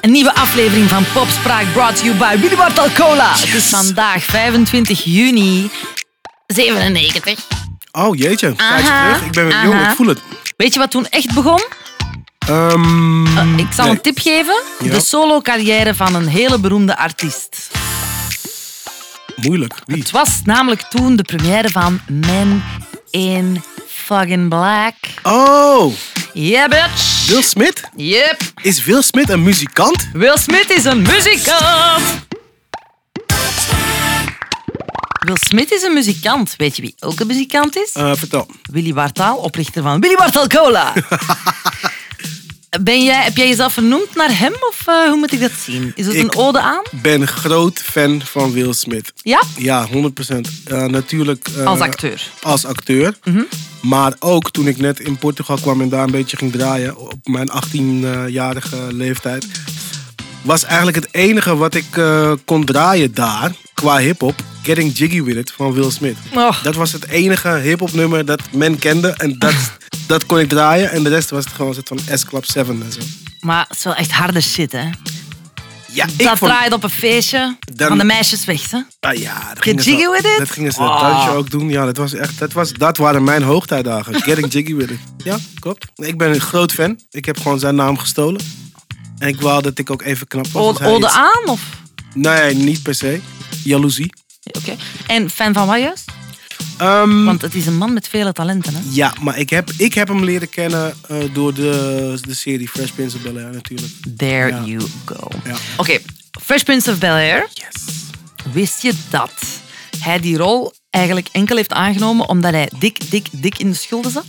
Een nieuwe aflevering van Popspraak brought to you by Willy Bartel Cola. Het is vandaag 25 juni 97. Oh jeetje, tijd is Aha, terug. Ik ben weer jong, aha. ik voel het. Weet je wat toen echt begon? Ehm, Oh, Ik zal nee. een tip geven. Ja. De solo-carrière van een hele beroemde artiest. Moeilijk. Wie? Het was namelijk toen de première van Men in Fucking Black. Oh, Yeah, bitch. Will Smith? Yep. Is Will Smith een muzikant? Will Smith is een muzikant. Will Smith is een muzikant. Weet je wie ook een muzikant is? Eh, vertel. Willy Wartaal, oprichter van Willy Wartaal Cola. Ben jij, heb jij jezelf vernoemd naar hem of eh, hoe moet ik dat zien? Is het Ik- een ode aan? Ik ben groot fan van Will Smith. Ja? Ja, 100%. Eh natuurlijk. eh, Als acteur. Mhm. Als acteur. Maar ook toen ik net in Portugal kwam en daar een beetje ging draaien, op mijn 18-jarige leeftijd, was eigenlijk het enige wat ik eh, kon draaien daar, qua hip-hop, Getting Jiggy With It van Will Smith. Och. Dat was het enige hip-hop nummer dat men kende en dat, dat kon ik draaien. En de rest was het gewoon een soort van S-Club 7 en zo. Maar het is wel echt harde shit, hè? Ja, ik Dat vond- draait op een feestje Dan- van de meisjes weg, hè? Ah ja, dat gingen jiggy ze, with it? Dat gingen ze dat Ah. dansje ook doen. Ja, dat was echt, dat, was, dat waren mijn hoogtijdagen. Getting jiggy with it. Ja, klopt. Ik ben een groot fan. Ik heb gewoon zijn naam gestolen. En ik wou dat ik ook even knap was. als Ode, hij ode iets- aan? Of? Nee, niet per se. Jaloezie. Oké. En fan van wat juist? Ehm, Want het is een man met vele talenten, hè? ja, maar ik heb, ik heb hem leren kennen eh, door de, de serie Fresh Prince of Bel-Air natuurlijk. There Ja. you go. Ja. Oké, Fresh Prince of Bel-Air. Yes. Wist je dat hij die rol eigenlijk enkel heeft aangenomen omdat hij dik, dik, dik in de schulden zat?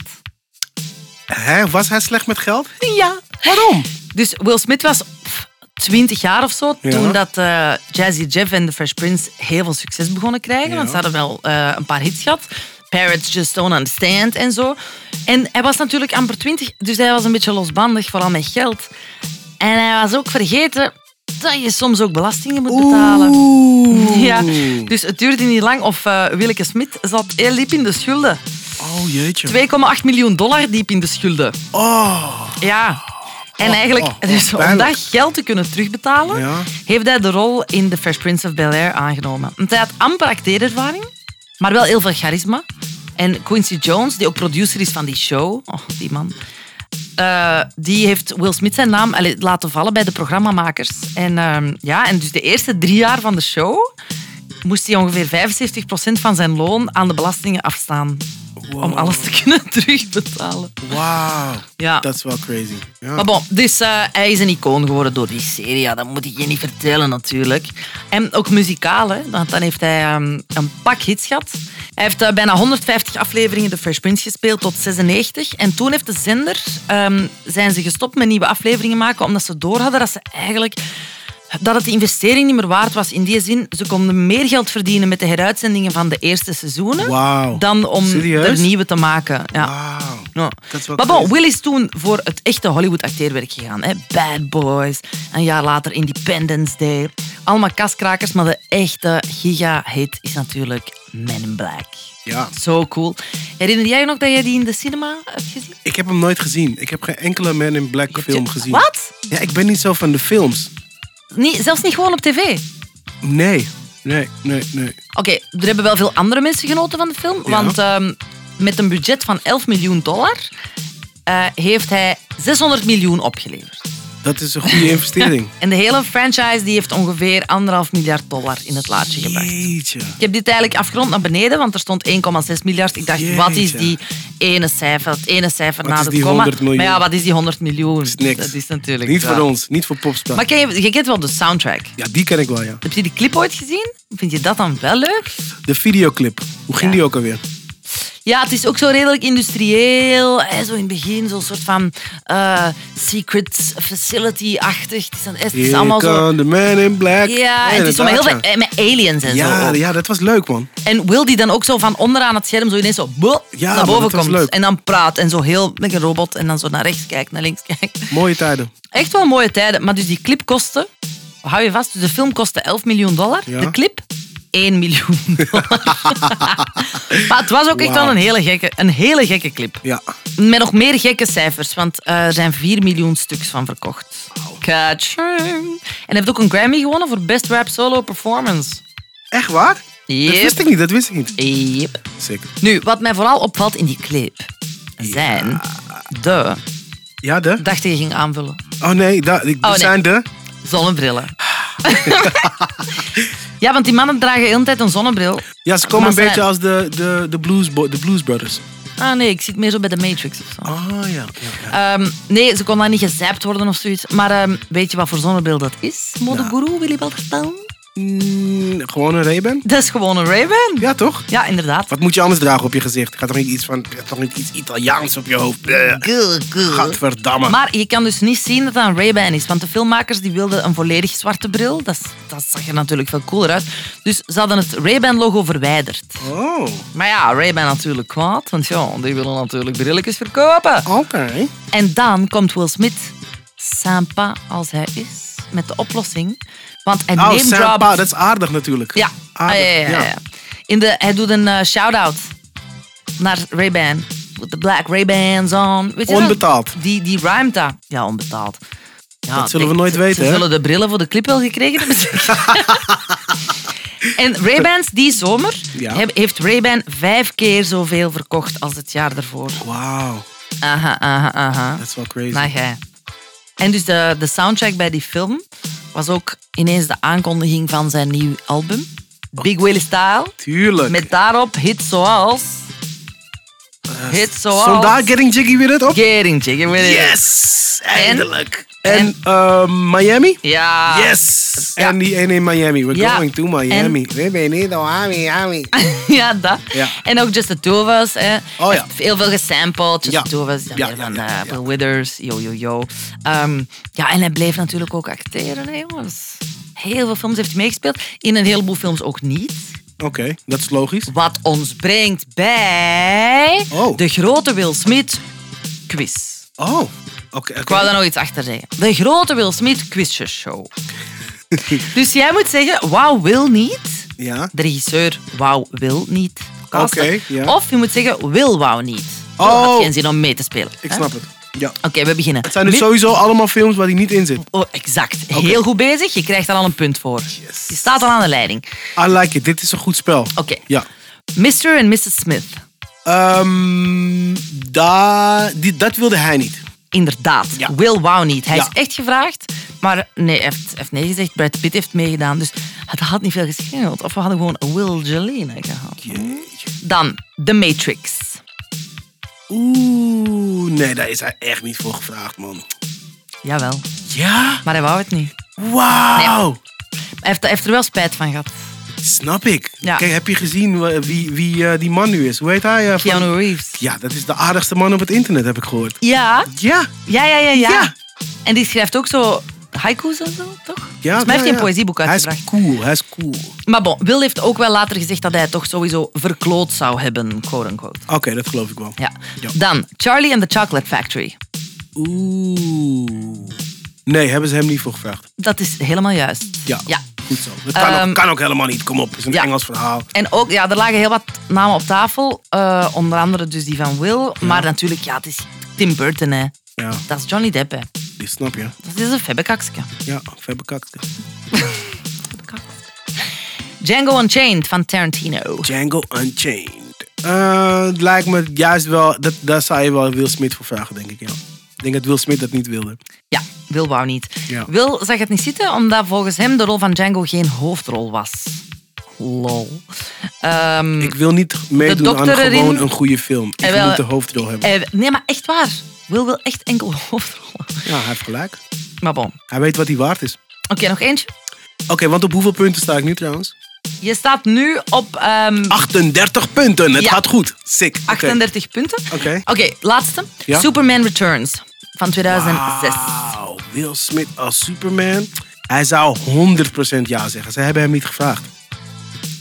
Hè, was hij slecht met geld? Ja. Waarom? Dus Will Smith was pff, 20 jaar of zo Ja. toen dat eh, Jazzy Jeff en The Fresh Prince heel veel succes begonnen krijgen. Ja. Want ze hadden wel eh, een paar hits gehad. Parrots Just Don't Understand en zo. En hij was natuurlijk amper 20, dus hij was een beetje losbandig, vooral met geld. En hij was ook vergeten dat je soms ook belastingen moet betalen. Oeh. Ja, dus het duurde niet lang of eh Willeke Smit zat heel diep in de schulden. Oh jeetje. 2,8 miljoen dollar diep in de schulden. Oh. Ja. En eigenlijk, oh, oh, dus om pijnlijk. dat geld te kunnen terugbetalen, Ja. heeft hij de rol in The Fresh Prince of Bel-Air aangenomen. Want hij had amper acteerervaring, maar wel heel veel charisma. En Quincy Jones, die ook producer is van die show, oh, die man, eh, die heeft Will Smith zijn naam allee, laten vallen bij de programmamakers. En, ehm, ja, en dus de eerste drie jaar van de show moest hij ongeveer 75% van zijn loon aan de belastingen afstaan. Om alles te kunnen terugbetalen. Wauw. Ja. Dat is wel crazy. Ja. Maar bon, dus eh, hij is een icoon geworden door die serie. Ja, dat moet ik je niet vertellen natuurlijk. En ook muzikaal, hè, want dan heeft hij ehm, een pak hits gehad. Hij heeft eh, bijna 150 afleveringen The Fresh Prince gespeeld tot 96. En toen heeft de zender, ehm, zijn ze gestopt met nieuwe afleveringen maken, omdat ze door hadden dat ze eigenlijk dat het de investering niet meer waard was. In die zin, ze konden meer geld verdienen met de heruitzendingen van de eerste seizoenen Wauw. dan om Serieus? er nieuwe te maken. Ja. Wauw. Ja. Dat is wel Maar bon, crazy. Will is toen voor het echte Hollywood-acteerwerk gegaan. Hè? Bad Boys, een jaar later Independence Day. Allemaal kaskrakers, maar de echte giga-hit is natuurlijk Men in Black. Ja. Zo cool. Herinner jij je nog dat jij die in de cinema hebt gezien? Ik heb hem nooit gezien. Ik heb geen enkele Man in Black Heb je- film gezien. Wat? Ja, ik ben niet zo van de films. Nee, zelfs niet gewoon op tv? Nee. Nee, nee, nee. Oké, er hebben wel veel andere mensen genoten van de film. Ja. Want ehm, met een budget van 11 miljoen dollar eh, heeft hij 600 miljoen opgeleverd. Dat is een goede investering. En de hele franchise die heeft ongeveer anderhalf miljard dollar in het laadje gebracht. Jeetje. Ik heb dit eigenlijk afgerond naar beneden, want er stond 1,6 miljard. Ik dacht, wat is Jeetje. die ene cijfer, het ene cijfer Wat na is het die komma? 100 miljoen? Maar ja, wat is die 100 miljoen? Is niks. Dat is natuurlijk... Niet wel- voor ons, niet voor popstar. Maar ken je, je kent wel de soundtrack. Ja, die ken ik wel, ja. Heb je die clip ooit gezien? Vind je dat dan wel leuk? De videoclip. Hoe ging Ja. die ook alweer? Ja, het is ook zo redelijk industrieel. Hè, zo in het begin, zo'n soort van eh, secret facility-achtig. Het is, dan- het is Here allemaal zo... come the man in black. Ja, en het is zo met, heel veel, inderdaad, eh, met aliens en zo. Ja, ook. ja, dat was leuk, man. En Will die dan ook zo van onderaan het scherm zo ineens zo blop, Ja, naar maar boven dat was komt. leuk. En dan praat en zo heel met een robot en dan zo naar rechts kijkt, naar links kijkt. Mooie tijden. Echt wel mooie tijden. Maar dus die clip kostte, hou je vast, dus de film kostte 11 miljoen dollar. Ja. De clip 1 miljoen dollar. maar het was ook echt wel Wauw. een hele gekke, een hele gekke clip. Ja. Met nog meer gekke cijfers, want eh, er zijn 4 miljoen stuks van verkocht. Wauw. Ka-ching. En heeft ook een Grammy gewonnen voor Best Rap Solo Performance. Echt waar? Dat Yep. wist ik niet, dat wist ik niet. Yep. Zeker. Nu, wat mij vooral opvalt in die clip zijn de Ja, de? dacht je ging aanvullen. Oh nee, da, die- die nee. zijn de... Zonnebrillen. ja, want die mannen dragen de hele tijd een zonnebril. Ja, ze komen een Maar ze- beetje als de, de, de, blues, Bo- de Blues Brothers. Ah nee, ik zit meer zo bij de Matrix of zo. Ah ja. ja, ja. Ehm, nee, ze kon daar niet gezapt worden of zoiets. Maar ehm, weet je wat voor zonnebril dat is? Modeguru, Willy Balderstein? Mm, gewoon een Ray-Ban? Dat is gewoon een Ray-Ban. Ja, toch? Ja, inderdaad. Wat moet je anders dragen op je gezicht? Gaat toch niet iets, van, gaat toch niet iets Italiaans op je hoofd? Bleh. Gul, gul. Gadverdamme. Maar je kan dus niet zien dat dat een Ray-Ban is. Want de filmmakers die wilden een volledig zwarte bril. Dat, is- dat zag er natuurlijk veel cooler uit. Dus ze hadden het Ray-Ban-logo verwijderd. Oh, Maar ja, Ray-Ban natuurlijk kwaad. Want ja, die willen natuurlijk brilletjes verkopen. oké. En dan komt Will Smith, sympa als hij is, met de oplossing. Want hij Oh, neemt Sam Pa, dat is aardig natuurlijk. Ja. Ah, Aardig, ja, ja, ja, ja. In de, hij doet een eh, shout-out naar Ray-Ban. With the black Ray-Bans on. Weet je dat? Onbetaald. Die, die rhymt dat. Ja, onbetaald. Ja, Dat zullen we ik- nooit ze- weten, Ze hè? zullen de brillen voor de clip wel gekregen hebben. en Ray-Bans die zomer Ja. heb- heeft Ray-Ban vijf keer zoveel verkocht als het jaar daarvoor. Wauw, Aha, aha, aha. dat is wel crazy. Nou, jij. En dus de, de soundtrack bij die film was ook ineens de aankondiging van zijn nieuw album. Big Willie Style. Tuurlijk. Met daarop hits zoals... Eh, Hits zoals... Vandaar Getting Jiggy weer het op? Getting Chicken with It. Yes, eindelijk. En, En- eh, Miami? Ja. Yes. Ah. Ja. En die ene in Miami. We're Ja. going to Miami. We beneden Miami. ja, dat. Ja. En ook Just the Two of Us. Hè. Oh ja. Heel veel gesampled. Just Ja. the Two of Us. Ja, Ja, ja, van ja, eh, ja. Bill Withers. Yo, yo, yo. Ehm, ja, en hij bleef natuurlijk ook acteren, hè, jongens. Heel veel films heeft hij meegespeeld. In een heleboel films ook niet. Oké, dat is logisch. Wat ons brengt bij Oh. de grote Will Smith quiz. Oh, oké. oké. Ik wou daar nog iets achter zeggen. De grote Will Smith quizjes show. dus jij moet zeggen, wauw wil niet. Ja. De regisseur, wauw wil niet. Caster. Oké, ja. Of je moet zeggen, wil wauw niet. Wil Oh. had geen zin om mee te spelen. Ik hè? snap het. Ja. Oké, we beginnen. Het zijn dus Mid- sowieso allemaal films waar hij niet in zit. Oh, exact. Heel goed bezig. Je krijgt daar al een punt voor. Yes. Je staat al aan de leiding. I like it. Dit is een goed spel. Oké. Ja. Mr. en Mrs. Smith. Ehm da, die, dat wilde hij niet. Inderdaad. Ja. Will wou niet. Hij Ja. is echt gevraagd, maar nee, hij heeft, hij heeft nee gezegd. Brad Pitt heeft meegedaan, dus het had niet veel gescheeld. Of we hadden gewoon Will Jelena gehad. Dan The Matrix. Oeh, nee, daar is hij echt niet voor gevraagd, man. Jawel, Ja? maar hij wou het niet. Wauw. Hij heeft, hij heeft er wel spijt van gehad. Snap ik. Ja. Kijk, heb je gezien wa- wie, wie eh, die man nu is? Hoe heet hij? eh, van- Keanu Reeves. Ja, dat is de aardigste man op het internet, heb ik gehoord. Ja, Ja. ja, ja, ja. ja. Ja. En die schrijft ook zo haiku's en zo, toch? ja Volgens mij heeft ja, hij ja. een poëzieboek Hij uitgebracht. is cool, hij is cool. Maar bon, Will heeft ook wel later gezegd dat hij het toch sowieso verkloot zou hebben, quote-unquote. Oké, dat geloof ik wel. Ja. Ja. Dan Charlie and the Chocolate Factory. Oeh. Nee, hebben ze hem niet voor gevraagd. Dat is helemaal juist. Ja. ja. Goed zo. Dat kan, Ehm, ook, kan ook helemaal niet. Kom op, het is een ja. Engels verhaal. En ook, ja, er lagen heel wat namen op tafel. Eh, onder andere dus die van Will. Maar natuurlijk, ja, het is Tim Burton, hè. Ja, Dat is Johnny Depp, hè. die snap je. Dat is een febbekakske. Ja, verbekakt. Django Unchained van Tarantino. Django Unchained. Eh, het lijkt me juist wel, dat, daar zou je wel Will Smith voor vragen, denk ik. Ja. Ik denk dat Will Smith dat niet wilde. Ja, Will wou niet. Ja. Will zag het niet zitten, omdat volgens hem de rol van Django geen hoofdrol was. Lol. Ehm, Ik wil niet meedoen aan dokter erin- gewoon een goede film. Ik Eh, wel, moet de hoofdrol hebben. eh, nee, maar echt waar. Will wil echt enkel hoofdrollen. Ja, hij heeft gelijk. Maar bon. Oké, Hij weet wat hij waard is. nog eentje. Oké, want op hoeveel punten sta ik nu trouwens? Je staat nu op ehm, 38 punten. Het Ja. gaat goed. Sick. Oké. 38 punten. Oké. Oké, laatste. Ja? Superman Returns van 2006. Wauw. Will Smith als Superman. Hij zou 100% ja zeggen. Ze hebben hem niet gevraagd.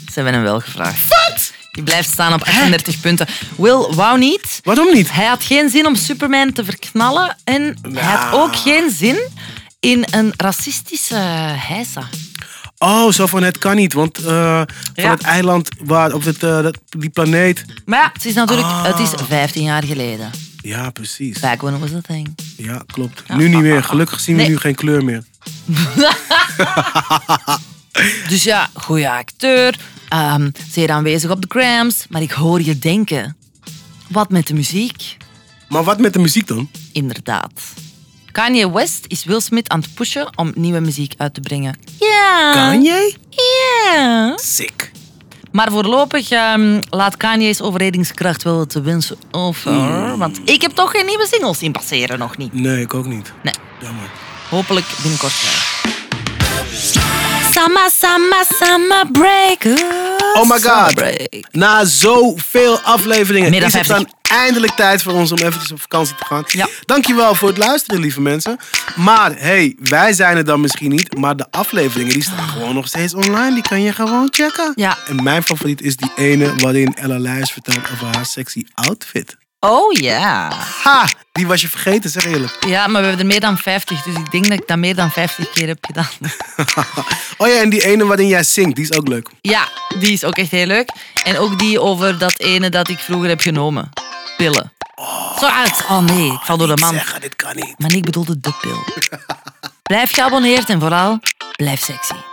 Ze hebben hem wel gevraagd. Wat? Die blijft staan op 38 punten. Will wou niet. Waarom niet? Hij had geen zin om Superman te verknallen. En hij had ook geen zin in een racistische heisa. Oh, zo van het kan niet. Want eh, van Ja. het eiland waar, op het, eh, dat, die planeet. Maar ja, het is natuurlijk Ah. het is 15 jaar geleden. Ja, precies. Back when it was a thing. Ja, klopt. Nu niet meer. Gelukkig zien we Nee. nu geen kleur meer. Dus ja, goede acteur, ehm, zeer aanwezig op de Grams. Maar ik hoor je denken, wat met de muziek? Maar wat met de muziek dan? Inderdaad. Kanye West is Will Smith aan het pushen om nieuwe muziek uit te brengen. Ja. Kanye? Ja. Eh? Sick. Maar voorlopig ehm, laat Kanye's overredingskracht wel te wensen over. Hmm. Want ik heb toch geen nieuwe singles zien passeren, nog niet. Nee, ik ook niet. Nee, Jammer. hopelijk binnenkort wel. Sama, sama, sama break. Oh my god. Na zoveel afleveringen Meer dan is het 50. dan eindelijk tijd voor ons om even op vakantie te gaan. Ja. Dankjewel voor het luisteren, lieve mensen. Maar hey, wij zijn er dan misschien niet, maar de afleveringen die staan gewoon nog steeds online. Die kan je gewoon checken. Ja. En mijn favoriet is die ene waarin Ella Lijs vertelt over haar sexy outfit. Oh ja. Ha, die was je vergeten, zeg eerlijk. Ja, maar we hebben er meer dan 50, dus ik denk dat ik dat meer dan 50 keer heb gedaan. oh ja, en die ene waarin jij zingt, die is ook leuk. Ja, die is ook echt heel leuk. En ook die over dat ene dat ik vroeger heb genomen. Pillen. Zo uit. Oh nee, ik val door de man. Zeg, dit kan niet. Maar nee, ik bedoelde de pil. Blijf geabonneerd en vooral blijf sexy.